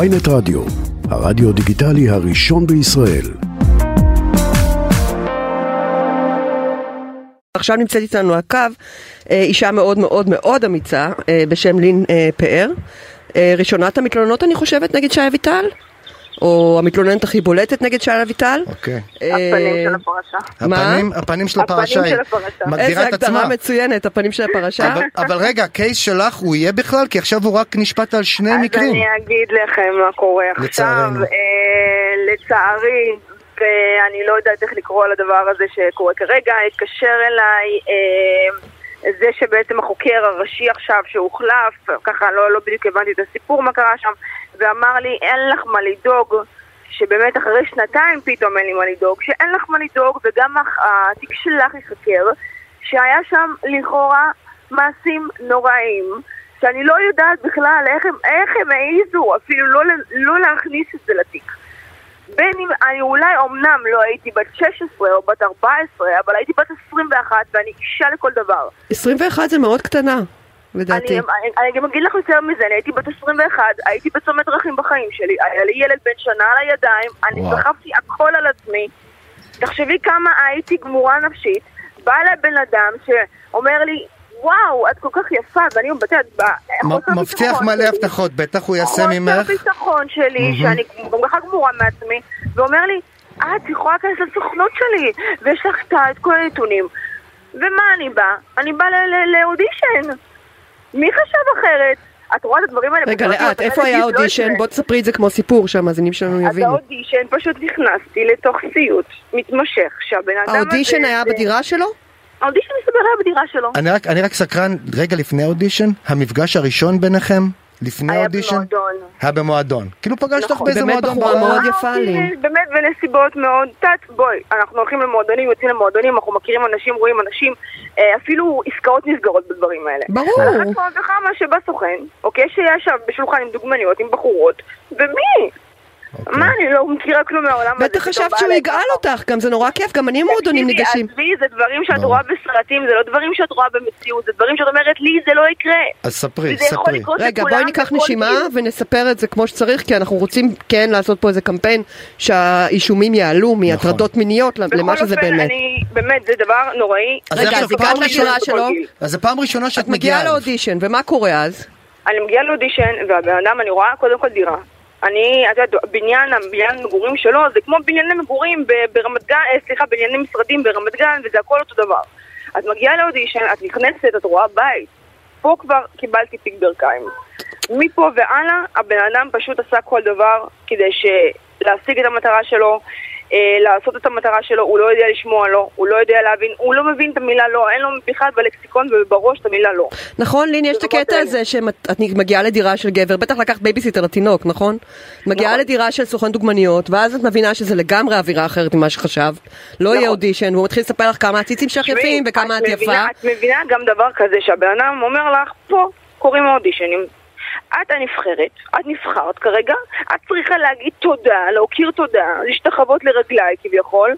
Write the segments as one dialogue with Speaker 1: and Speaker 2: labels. Speaker 1: ויינט רדיו, הרדיו דיגיטלי הראשון בישראל.
Speaker 2: עכשיו נמצאת איתנו על הקו אה, אישה מאוד מאוד מאוד אמיצה אה, בשם לין אה, פאר. אה, ראשונת המתלוננות אני חושבת נגד שי אביטל, או המתלוננת הכי בולטת נגד שי אביטל.
Speaker 3: אוקיי.
Speaker 2: אה,
Speaker 4: הפנים של הפרשה.
Speaker 2: מה?
Speaker 3: הפנים, הפנים של הפרשה
Speaker 4: הפנים
Speaker 3: היא
Speaker 4: של הפרשה.
Speaker 3: מגדירה
Speaker 2: איזה
Speaker 3: את עצמה.
Speaker 2: הגדרה מצוינת, הפנים של הפרשה.
Speaker 3: אבל, אבל רגע, הקייס שלך הוא יהיה בכלל? כי עכשיו הוא רק נשפט על שני
Speaker 4: אז
Speaker 3: מקרים.
Speaker 4: אני אגיד לכם מה קורה עכשיו.
Speaker 3: לצערנו.
Speaker 4: אה, לצערי, ואני לא יודעת איך לקרוא על הדבר הזה שקורה כרגע, התקשר אליי אה, זה שבעצם החוקר הראשי עכשיו שהוחלף, ככה לא, לא בדיוק הבנתי את הסיפור מה קרה שם, ואמר לי אין לך מה לדאוג. שבאמת אחרי שנתיים פתאום אין לי מה לדאוג, שאין לך מה לדאוג וגם הח- התיק שלך ייחקר, שהיה שם לכאורה מעשים נוראים, שאני לא יודעת בכלל איך הם, איך הם העיזו אפילו לא, ל- לא להכניס את זה לתיק. בין אם, אני אולי אומנם לא הייתי בת 16 או בת 14, אבל הייתי בת 21 ואני אישה לכל דבר.
Speaker 2: 21 זה מאוד קטנה,
Speaker 4: אני,
Speaker 2: לדעתי.
Speaker 4: אני, אני גם אגיד לך יותר מזה, אני הייתי בת 21, הייתי בצומת דרכים בחיים שלי, היה לי ילד בן שנה על הידיים, אני
Speaker 3: וואו.
Speaker 4: סחבתי הכל על עצמי. תחשבי כמה הייתי גמורה נפשית, בא אליי בן אדם שאומר לי, וואו, את כל כך יפה, ואני מבטאת,
Speaker 3: מ- מבטיח מלא הבטחות, בטח הוא יעשה ממך.
Speaker 4: חוסר ביטחון שלי, שאני גם ככה גמורה מעצמי, ואומר לי, את יכולה להיכנס לסוכנות שלי, ויש לך את ה- את כל הנתונים. ומה אני באה? אני באה ל- ל- לאודישן. מי חשב אחרת? את רואה את הדברים האלה?
Speaker 2: רגע,
Speaker 4: בקלות,
Speaker 2: לאט,
Speaker 4: אבל
Speaker 2: איפה
Speaker 4: אני
Speaker 2: היה
Speaker 4: לא את זה.
Speaker 2: האודישן? בוא תספרי את זה כמו סיפור שהמאזינים שלנו
Speaker 4: אז
Speaker 2: יבינו.
Speaker 4: האודישן פשוט נכנסתי לתוך סיוט מתמשך, שהבן אדם הזה...
Speaker 2: האודישן היה
Speaker 4: זה-
Speaker 2: בדירה שלו?
Speaker 4: האודישן מסתבר היה בדירה שלו.
Speaker 3: אני רק, אני רק סקרן, רגע לפני האודישן, המפגש הראשון ביניכם, לפני
Speaker 4: היה
Speaker 3: האודישן,
Speaker 4: במועדון.
Speaker 3: היה במועדון. כאילו פגשת אותך
Speaker 4: נכון.
Speaker 3: באיזה
Speaker 2: באמת
Speaker 3: מועדון
Speaker 2: בחורה
Speaker 3: בעולם.
Speaker 2: מאוד יפה
Speaker 4: אה,
Speaker 2: לי.
Speaker 4: אוקיי, באמת, בנסיבות מאוד תת, בואי, אנחנו הולכים למועדונים, יוצאים למועדונים, אנחנו מכירים אנשים, רואים אנשים, אה, אפילו עסקאות נסגרות בדברים האלה.
Speaker 2: ברור.
Speaker 4: אחת כמה וכמה שבא סוכן, אוקיי, שישב בשולחן עם דוגמניות, עם בחורות, ומי? מה, אני לא מכירה כלום מהעולם הזה.
Speaker 2: אוקיי. בטח
Speaker 4: פתאום
Speaker 2: חשבת
Speaker 4: בא
Speaker 2: שהוא
Speaker 4: אליי
Speaker 2: יגאל
Speaker 4: ככה.
Speaker 2: אותך, גם זה נורא כיף, גם אני מועדונים
Speaker 4: תקשיבי,
Speaker 2: ניגשים.
Speaker 4: עזבי, זה דברים שאת
Speaker 3: ברור.
Speaker 4: רואה בסרטים, זה לא דברים שאת רואה במציאות, זה דברים שאת אומרת, לי זה לא יקרה.
Speaker 3: אז ספרי,
Speaker 4: וזה יכול
Speaker 3: ספרי.
Speaker 4: לקרות
Speaker 2: רגע,
Speaker 4: לכולם כאילו-
Speaker 2: בואי ניקח
Speaker 4: בכל
Speaker 2: נשימה
Speaker 4: גיל.
Speaker 2: ונספר את זה כמו שצריך, כי אנחנו רוצים כן לעשות פה איזה קמפיין שהאישומים יעלו מהטרדות מיניות
Speaker 4: בכל
Speaker 2: למה שזה
Speaker 4: אופן,
Speaker 2: באמת.
Speaker 4: אני, באמת, זה דבר נוראי.
Speaker 3: אז
Speaker 2: רגע,
Speaker 3: איך
Speaker 2: אז
Speaker 3: זה
Speaker 2: הגעת
Speaker 3: פעם
Speaker 2: לדירה
Speaker 3: ראשונה-
Speaker 2: שלו,
Speaker 3: אז זו פעם ראשונה
Speaker 2: את
Speaker 3: שאת
Speaker 2: מגיעה
Speaker 3: מגיעה אליו.
Speaker 2: לאודישן, ומה קורה אז?
Speaker 4: אני מגיעה לאודישן, והבן אדם, אני רואה קודם כל דירה. אני, את יודעת, בניין, הבניין המגורים שלו, זה כמו בנייני מגורים ב- ברמת גן, אה, סליחה, בנייני משרדים ברמת גן, וזה הכל אותו דבר. את מגיעה לאודישן, את נכנסת, את רואה בית. פה כבר קיבלתי פיק ברכיים. מפה והלאה, הבן אדם פשוט עשה כל דבר כדי ש... להשיג את המטרה שלו, אה, לעשות את המטרה שלו, הוא לא יודע לשמוע לא, הוא לא יודע להבין, הוא לא מבין את המילה לא, אין לו בכלל בלקסיקון ובראש את המילה לא.
Speaker 2: נכון, לין, יש את
Speaker 4: ברמות
Speaker 2: הקטע
Speaker 4: האלה.
Speaker 2: הזה שאת את מגיעה לדירה של גבר, בטח לקחת בייביסיטר לתינוק, נכון? מגיעה
Speaker 4: נכון.
Speaker 2: לדירה של סוכן דוגמניות, ואז את מבינה שזה לגמרי אווירה אחרת ממה שחשבת. לא יהיה אודישן, והוא מתחיל לספר לך כמה הציצים שלך יפים וכמה את יפה.
Speaker 4: מבינה, נכון. את מבינה גם דבר כזה שהבן אדם אומר לך, פה קוראים האודישנים. את הנבחרת, את נבחרת כרגע, את צריכה להגיד תודה, להכיר תודה, להשתחוות לרגליי כביכול.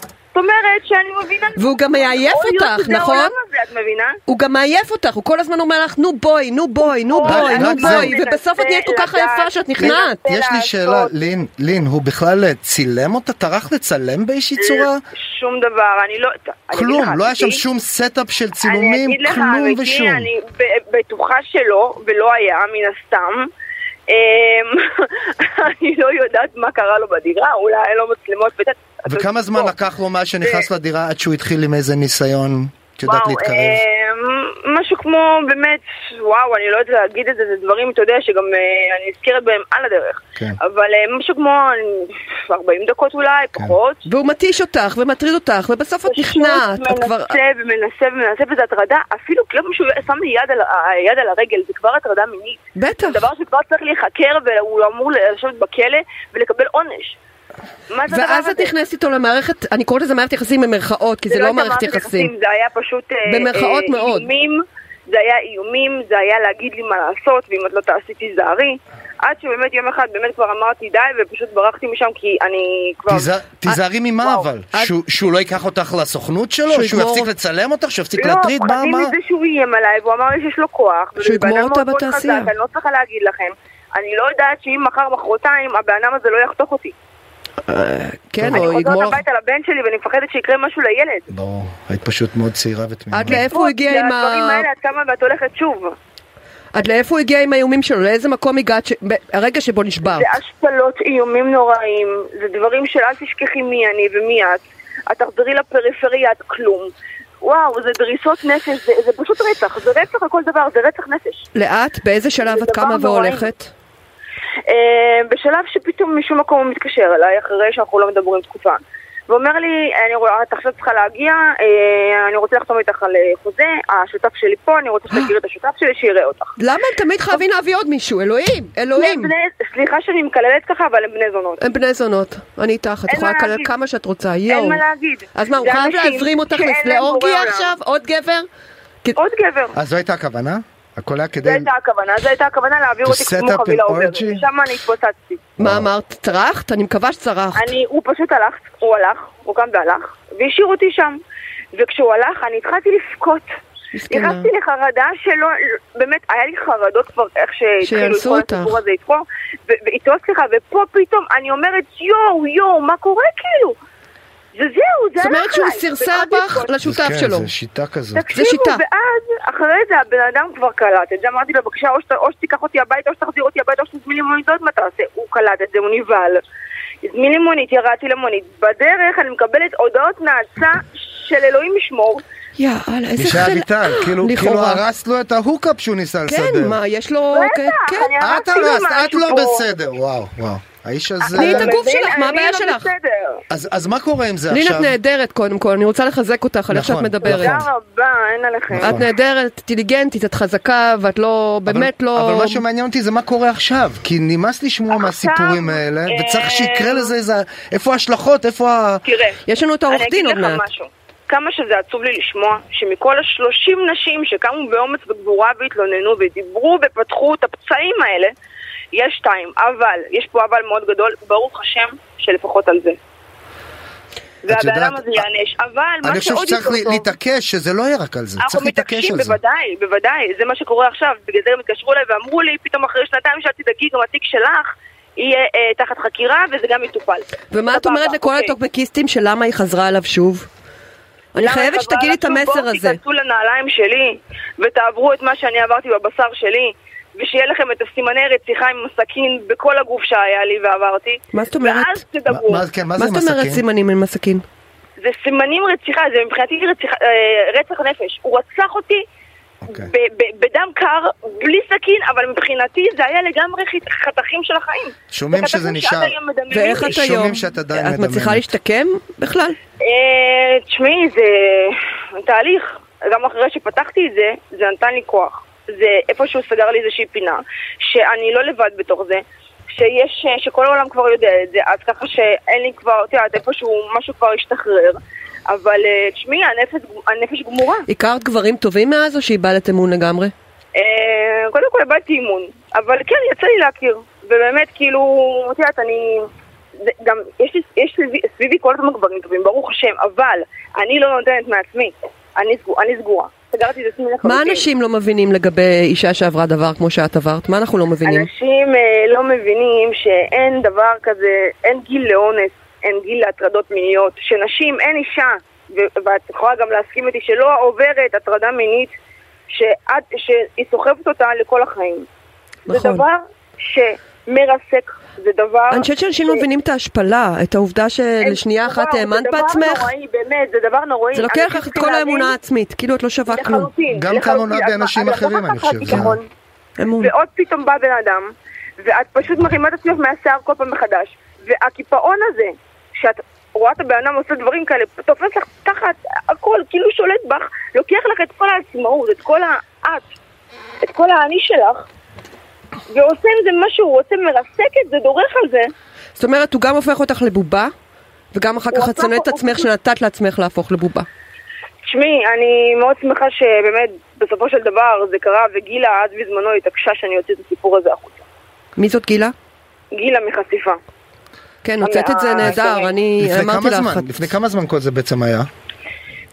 Speaker 4: זאת אומרת שאני מבינה...
Speaker 2: והוא גם מעייף
Speaker 4: יכול להיות
Speaker 2: אותך,
Speaker 4: שזה
Speaker 2: נכון?
Speaker 4: העולם הזה, את מבינה?
Speaker 2: הוא גם מעייף אותך, הוא כל הזמן אומר לך, נו בואי, נו בואי, נו
Speaker 4: רק-
Speaker 2: בואי, נו
Speaker 3: רק זה.
Speaker 2: בואי, ובסוף את נהיית כל כך
Speaker 4: מנסה
Speaker 2: יפה שאת
Speaker 4: לדעת.
Speaker 2: נכנעת.
Speaker 4: מנסה
Speaker 3: יש לי
Speaker 4: לעשות.
Speaker 3: שאלה, לין, לין, הוא בכלל צילם אותה? טרח לצלם באיזושהי
Speaker 4: אה,
Speaker 3: צורה?
Speaker 4: שום דבר, אני לא... אני אגיד לך,
Speaker 3: כלום, לא היה שם
Speaker 4: אמיתי,
Speaker 3: שום סטאפ של
Speaker 4: אני
Speaker 3: צילומים,
Speaker 4: אגיד לך,
Speaker 3: כלום
Speaker 4: אמיתי,
Speaker 3: ושום.
Speaker 4: אני ב- בטוחה שלא, ולא היה, מן הסתם. אמ, אני לא יודעת מה קרה לו בדירה, אולי אין לו מצלמות. לא, ואת-
Speaker 3: וכמה
Speaker 4: אתה-
Speaker 3: זמן
Speaker 4: טוב,
Speaker 3: לקח לו מאז שנכנס לדירה עד שהוא התחיל עם איזה ניסיון, את יודעת
Speaker 4: וואו,
Speaker 3: להתקרב?
Speaker 4: אמ, משהו כמו באמת, וואו, אני לא יודעת להגיד את זה, זה דברים, אתה יודע, שגם אה, אני נזכרת בהם על הדרך.
Speaker 3: כן.
Speaker 4: אבל אה, משהו כמו אה, 40 דקות אולי,
Speaker 3: כן.
Speaker 4: פחות.
Speaker 2: והוא מתיש אותך ומטריד אותך, ובסוף
Speaker 3: לא
Speaker 2: את
Speaker 4: פשוט
Speaker 2: נכנעת. את כבר...
Speaker 4: מנסה ומנסה ומנסה, וזה הטרדה, אפילו כאילו מישהו שם לי יד על, ה- יד על הרגל, זה כבר הטרדה מינית.
Speaker 2: בטח.
Speaker 4: דבר שכבר צריך להיחקר, והוא אמור לשבת בכלא ולקבל עונש. מה זה הדבר
Speaker 2: ואז
Speaker 4: הזה?
Speaker 2: את נכנסת איתו למערכת, אני קוראת לזה מערכת יחסים במרכאות, כי זה לא
Speaker 4: הייתה
Speaker 2: מערכת יחסים.
Speaker 4: זה היה פשוט... אה,
Speaker 2: במרכאות
Speaker 4: אה,
Speaker 2: מאוד.
Speaker 4: איומים, זה היה איומים, זה היה להגיד לי מה לעשות, ואם את לא תעשי תיזהרי. עד שבאמת יום אחד באמת כבר אמרתי די, ופשוט ברחתי משם כי אני כבר... אה,
Speaker 3: תיזהר- תיזהרי ממה
Speaker 4: וואו. אה,
Speaker 3: אבל?
Speaker 2: את-
Speaker 3: שהוא- שהוא לא ייקח אותך לסוכנות
Speaker 2: שהוא
Speaker 3: שלו? שהוא
Speaker 2: יגמור-
Speaker 3: יפסיק לצלם אותך? שהוא יפסיק להטריד?
Speaker 4: לא,
Speaker 3: מה?
Speaker 4: אני
Speaker 3: מה?
Speaker 4: מזה שהוא איים עליי, והוא אמר לי שיש לו כוח.
Speaker 2: שהוא
Speaker 4: ובן
Speaker 2: יגמור
Speaker 4: אדם
Speaker 2: אותה
Speaker 4: מאוד מאוד
Speaker 2: בתעשייה.
Speaker 4: חזק, אני לא צריכה להגיד לכם. אני לא יודעת שאם מחר, מחרתיים, הבן אדם הזה לא יחתוך אותי.
Speaker 2: אה, כן,
Speaker 4: אני
Speaker 2: או
Speaker 4: חוזרת
Speaker 2: יגמור...
Speaker 4: הביתה לבן שלי ואני מפחדת שיקרה משהו לילד.
Speaker 3: ברור, היית פשוט מאוד צעירה ותמימה.
Speaker 2: עד לאיפה הוא הגיע עם
Speaker 4: הדברים
Speaker 2: ה...
Speaker 4: האלה, עד כמה ואת הולכת שוב.
Speaker 2: עד לאיפה הוא הגיע עם האיומים שלו? לאיזה מקום הגעת? ש- ב- הרגע שבו נשברת.
Speaker 4: זה השפלות, איומים נוראים, זה דברים של אל תשכחי מי אני ומי את. את תחזרי לפריפריה, את כלום. וואו, זה דריסות נפש, זה, זה פשוט רצח, זה רצח לכל דבר, זה רצח נפש.
Speaker 2: לאט? באיזה שלב
Speaker 4: זה
Speaker 2: את קמה
Speaker 4: דבר נוראי.
Speaker 2: והולכת?
Speaker 4: אה, בשלב שפתאום משום מקום הוא מתקשר אליי, אחרי שאנחנו לא מדברים תקופה. ואומר לי, אני רואה, את עכשיו צריכה להגיע, אה, אני רוצה לחתום איתך על אה, חוזה, השותף שלי פה, אני רוצה שתכיר את השותף שלי, שיראה אותך.
Speaker 2: למה הם תמיד חייבים להביא עוד מישהו? אלוהים! אלוהים!
Speaker 4: הם בני- סליחה שאני מקללת ככה, אבל הם בני זונות.
Speaker 2: הם בני זונות. אני איתך, את
Speaker 4: אין
Speaker 2: יכולה
Speaker 4: מה
Speaker 2: לקלל
Speaker 4: להגיד.
Speaker 2: כמה שאת רוצה,
Speaker 4: אין
Speaker 2: יואו.
Speaker 4: מה להגיד.
Speaker 2: אז מה, הוא
Speaker 4: זה
Speaker 2: חייב
Speaker 4: אנשים
Speaker 2: להזרים אותך
Speaker 4: שאין להם
Speaker 2: לאורגיה
Speaker 4: בורא עולם.
Speaker 2: עכשיו? עוד גבר?
Speaker 4: עוד גבר.
Speaker 3: אז אה, זו הייתה הכוונה? הכל היה
Speaker 4: זו
Speaker 3: כדי...
Speaker 4: הייתה הכוונה, זו הייתה הכוונה להעביר
Speaker 3: To
Speaker 4: אותי
Speaker 3: set
Speaker 4: כמו
Speaker 3: up
Speaker 4: חבילה
Speaker 3: an
Speaker 4: עוברת.
Speaker 3: orgy?
Speaker 4: שם אני התפוצצתי.
Speaker 2: מה אמרת? צרחת? אני מקווה שצרחת.
Speaker 4: אני, הוא פשוט הלך, הוא הלך, הוא קם והלך, והשאיר אותי שם. וכשהוא הלך, אני התחלתי לבכות.
Speaker 2: מסכנה.
Speaker 4: נכנסתי לחרדה שלא, באמת, היה לי חרדות כבר איך שהתחילו
Speaker 2: שיאנסו
Speaker 4: את
Speaker 2: אותך.
Speaker 4: כל הסיפור הזה איתו, ו- ואיתו, סליחה, ופה פתאום אני אומרת, יואו, יואו, מה קורה כאילו? וזהו, זה
Speaker 2: זאת
Speaker 4: הלך עליי.
Speaker 2: אומרת שהוא סרסר
Speaker 4: והתחלתי
Speaker 2: בך
Speaker 4: לבכות.
Speaker 2: לשותף
Speaker 3: כן,
Speaker 2: שלו.
Speaker 3: זו שיטה כזאת.
Speaker 4: תקשיבו,
Speaker 2: שיטה.
Speaker 4: ואז, אחרי זה הבן אדם כבר קלט את זה, אמרתי לו, בבקשה, או, שת, או שתיקח אותי הביתה, או שתחזיר אותי הביתה, או שתזמין לי מונית, לא יודעת מה תעשה. הוא קלט את זה, הוא נבהל. הזמין לי מונית, ירדתי למונית. בדרך אני מקבלת הודעות נאצה של אלוהים ישמור.
Speaker 2: יא אללה, איזה
Speaker 3: אישה אביטל, כאילו כאילו
Speaker 2: לכאורה.
Speaker 3: הרס לו את ההוקאפ שהוא ניסה לסדר.
Speaker 2: כן, מה, יש לו...
Speaker 4: בטח,
Speaker 2: כן, כן.
Speaker 4: אני הרסתי
Speaker 3: את
Speaker 4: לו
Speaker 3: הרסת, את
Speaker 4: אה, משהו
Speaker 3: לא
Speaker 4: פה.
Speaker 3: בסדר. וואו, וואו. האיש הזה...
Speaker 2: תני את
Speaker 4: אתה
Speaker 2: הגוף
Speaker 4: מבין?
Speaker 2: שלך, מה
Speaker 4: אני
Speaker 2: הבעיה
Speaker 4: לא
Speaker 2: שלך?
Speaker 4: בסדר.
Speaker 3: אז אז מה קורה עם זה
Speaker 2: לין,
Speaker 3: עכשיו?
Speaker 2: את נהדרת קודם כל, אני רוצה לחזק אותך על איך שאת
Speaker 3: נכון,
Speaker 2: מדברת.
Speaker 3: נכון.
Speaker 4: תודה רבה, אין עליכם.
Speaker 2: את נהדרת, אינטליגנטית, את חזקה, ואת לא,
Speaker 3: אבל-
Speaker 2: באמת לא...
Speaker 3: אבל מה שמעניין אותי זה מה קורה עכשיו, כי נמאס לשמוע מהסיפורים האלה,
Speaker 4: אה, כן,
Speaker 3: וצריך שיקרה לזה איזה... איפה ההשלכות? איפה ה...
Speaker 4: תראה.
Speaker 2: יש לנו את העורך דין עוד
Speaker 4: אני אגיד
Speaker 2: מעט.
Speaker 4: לך משהו. כמה שזה עצוב לי לשמוע שמכל השלושים נשים שקמו באומץ וגבורה והתלוננו ודיברו ופתחו את הפצעים האלה, יש שתיים. אבל, יש פה אבל מאוד גדול, ברוך השם שלפחות על זה. והבן אדם
Speaker 3: יודעת, אה,
Speaker 4: הזה ייענש. אבל
Speaker 3: אני
Speaker 4: מה
Speaker 3: חושב
Speaker 4: שעוד
Speaker 3: שצריך
Speaker 4: יותר
Speaker 3: לי-
Speaker 4: טוב,
Speaker 3: להתעקש שזה לא יהיה רק על זה,
Speaker 4: אנחנו
Speaker 3: צריך להתעקש
Speaker 4: מתעקשים,
Speaker 3: על זה.
Speaker 4: בוודאי, בוודאי, זה מה שקורה עכשיו. בגלל זה גם התקשרו אליי ואמרו לי, פתאום אחרי שנתיים שאת תדאגי, גם התיק שלך יהיה אה, תחת חקירה וזה גם יטופל.
Speaker 2: ומה את
Speaker 4: סבבה,
Speaker 2: אומרת לכל
Speaker 4: אוקיי.
Speaker 2: הטוקבקיסטים של למה היא חזרה אליו שוב? אני
Speaker 4: למה
Speaker 2: חייבת
Speaker 4: חבל
Speaker 2: שתגידי את
Speaker 4: על שום
Speaker 2: המסר
Speaker 4: בור,
Speaker 2: הזה.
Speaker 4: תיכנסו לנעליים שלי, ותעברו את מה שאני עברתי בבשר שלי, ושיהיה לכם את הסימני רציחה עם הסכין בכל הגוף שהיה לי ועברתי.
Speaker 2: מה זאת אומרת?
Speaker 4: ואז תדברו.
Speaker 3: מה- מה- כן, מה
Speaker 2: מה
Speaker 3: זה
Speaker 2: זאת אומרת
Speaker 3: מסכים?
Speaker 2: סימנים עם הסכין?
Speaker 4: זה סימנים רציחה, זה מבחינתי רציח, אה, רצח נפש. הוא רצח אותי
Speaker 3: אוקיי.
Speaker 4: ב- ב- בדם קר, בלי סכין, אבל מבחינתי זה היה לגמרי חת- חתכים של החיים.
Speaker 3: שומעים
Speaker 4: זה חתכים
Speaker 3: שזה
Speaker 4: שעד
Speaker 3: נשאר.
Speaker 4: היום מדממים
Speaker 2: ואיך
Speaker 4: לי.
Speaker 2: את
Speaker 3: שומעים
Speaker 2: היום?
Speaker 3: שאת עדיין
Speaker 2: את מצליחה
Speaker 3: מדממת.
Speaker 2: להשתקם בכלל?
Speaker 4: אה, תשמעי, זה תהליך. גם אחרי שפתחתי את זה, זה נתן לי כוח. זה איפשהו סגר לי איזושהי פינה, שאני לא לבד בתוך זה, שיש, אה, שכל העולם כבר יודע את זה, אז ככה שאין לי כבר, את יודעת, איפשהו משהו כבר השתחרר. אבל אה, תשמעי, הנפש, הנפש גמורה.
Speaker 2: הכרת גברים טובים מאז או שאיבדת אמון לגמרי?
Speaker 4: אה, קודם כל איבדתי אימון, אבל כן, יצא לי להכיר. ובאמת, כאילו, את יודעת, אני... זה, גם, יש לי, יש סביבי, סביבי כל הזמן גברים טובים, ברוך השם, אבל אני לא נותנת מעצמי. אני, סגור, אני סגורה. סגרתי את עצמי לחלוטין.
Speaker 2: מה אנשים לא מבינים לגבי אישה שעברה דבר כמו שאת עברת? מה אנחנו לא מבינים?
Speaker 4: אנשים אה, לא מבינים שאין דבר כזה, אין גיל לאונס, אין גיל להטרדות מיניות, שנשים, אין אישה, ו- ואת יכולה גם להסכים איתי, שלא עוברת הטרדה מינית, שעד, שהיא סוחבת אותה לכל החיים. זה
Speaker 2: נכון.
Speaker 4: דבר שמרסק, זה דבר...
Speaker 2: אני חושבת שאנשים לא מבינים את ההשפלה, את העובדה
Speaker 4: אין-
Speaker 2: שלשנייה
Speaker 4: זה
Speaker 2: אחת
Speaker 4: דבר-
Speaker 2: האמנת
Speaker 4: זה דבר
Speaker 2: בעצמך?
Speaker 4: נוראי, באמת, זה דבר נוראי.
Speaker 2: זה לוקח לך את כל האמונה העצמית, כאילו את לא שווה כלום.
Speaker 4: לחלוטין.
Speaker 3: גם
Speaker 4: לחלוטין.
Speaker 3: כמוה באנשים
Speaker 4: אז- אז
Speaker 3: אחרים,
Speaker 4: לקחת
Speaker 3: אני חושב.
Speaker 4: ביטחון.
Speaker 2: אמון.
Speaker 4: ועוד פתאום בא בן אדם, ואת פשוט מרימה את עצמך מהשיער כל פעם מחדש. והקיפאון הזה, שאת רואה את הבן אדם עושה דברים כאלה, תופס לך תחת הכל, כאילו שולט בך, לוקח לך את כל העצמאות, את כל האת, את כל האני שלך, ועושה עם זה מה שהוא רוצה, מרסק את זה, דורך על זה.
Speaker 2: זאת אומרת, הוא גם הופך אותך לבובה, וגם אחר
Speaker 4: הוא
Speaker 2: כך את
Speaker 4: הפך- כאילו-
Speaker 2: שונאת את
Speaker 4: הוא-
Speaker 2: עצמך שנתת לעצמך להפוך לבובה.
Speaker 4: תשמעי, אני מאוד שמחה שבאמת בסופו של דבר זה קרה, וגילה אז בזמנו התעקשה שאני אוציא את הסיפור הזה החוצה.
Speaker 2: מי זאת גילה?
Speaker 4: גילה מחשיפה.
Speaker 2: כן, הוצאת את זה
Speaker 4: אה,
Speaker 2: נהדר,
Speaker 4: כן.
Speaker 2: אני
Speaker 3: לפני
Speaker 2: אמרתי
Speaker 3: כמה
Speaker 2: לך.
Speaker 3: זמן? לפני כמה זמן כל זה בעצם היה?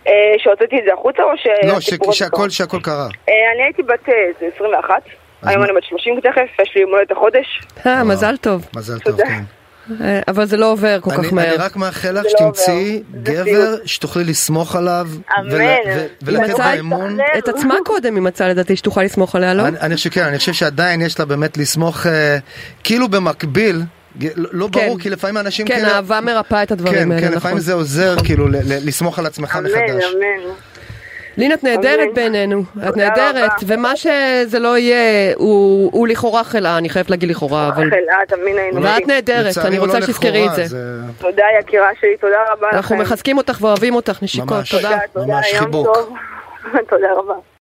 Speaker 4: אה, שהוצאתי את זה החוצה או
Speaker 3: לא,
Speaker 4: שהסיפור
Speaker 3: ש-
Speaker 4: אה, הזה
Speaker 3: שהכל
Speaker 4: קרה?
Speaker 3: שהכל קרה.
Speaker 4: אה, אני הייתי בת אה, 21. היום אני בת 30 תכף, יש לי יום הולדת החודש.
Speaker 2: אה, מזל טוב.
Speaker 3: מזל טוב,
Speaker 4: תודה.
Speaker 3: כן.
Speaker 2: אה, אבל זה לא עובר כל
Speaker 3: אני,
Speaker 2: כך מהר.
Speaker 3: אני רק מאחל לך
Speaker 4: זה לא
Speaker 3: שתמצאי
Speaker 4: עובר. זה
Speaker 3: גבר שתוכלי לסמוך עליו.
Speaker 4: אמן.
Speaker 3: ול- ו- ולתת
Speaker 2: מצא
Speaker 3: בו
Speaker 2: את
Speaker 3: אמון.
Speaker 4: זה-
Speaker 2: את עצמה קודם היא מצאה לדעתי שתוכל לסמוך עליה, לא?
Speaker 3: אני, אני חושב שכן, אני חושב שעדיין יש לה באמת לסמוך, אה, כאילו במקביל, ג- לא לא
Speaker 2: כן.
Speaker 3: ברור, כי לפעמים אנשים
Speaker 2: כן,
Speaker 3: כאלה...
Speaker 2: אהבה מרפאה את הדברים
Speaker 3: כן,
Speaker 2: האלה,
Speaker 3: כן, לפעמים
Speaker 2: נכון.
Speaker 3: זה עוזר כאילו ל- ל- לסמוך על עצמך
Speaker 4: אמן,
Speaker 3: מחדש.
Speaker 4: אמן.
Speaker 2: לין, את נהדרת
Speaker 4: אמן.
Speaker 2: בעינינו, את
Speaker 4: תודה
Speaker 2: נהדרת,
Speaker 4: רבה.
Speaker 2: ומה שזה לא יהיה, הוא הוא לכאורה חלאה, אני חייבת להגיד לכאורה, אבל...
Speaker 4: חלאה, תאמין לי.
Speaker 2: ואת נהדרת,
Speaker 3: לצערי
Speaker 2: אני
Speaker 3: הוא
Speaker 2: רוצה
Speaker 3: לא
Speaker 2: שתזכרי את
Speaker 3: לכאורה,
Speaker 2: זה.
Speaker 4: תודה יקירה שלי, תודה רבה לכם.
Speaker 2: אנחנו מחזקים אותך ואוהבים אותך, נשיקות,
Speaker 3: ממש.
Speaker 2: תודה.
Speaker 4: תודה, תודה,
Speaker 3: ממש
Speaker 4: יום
Speaker 3: חיבוק.
Speaker 4: טוב. תודה רבה.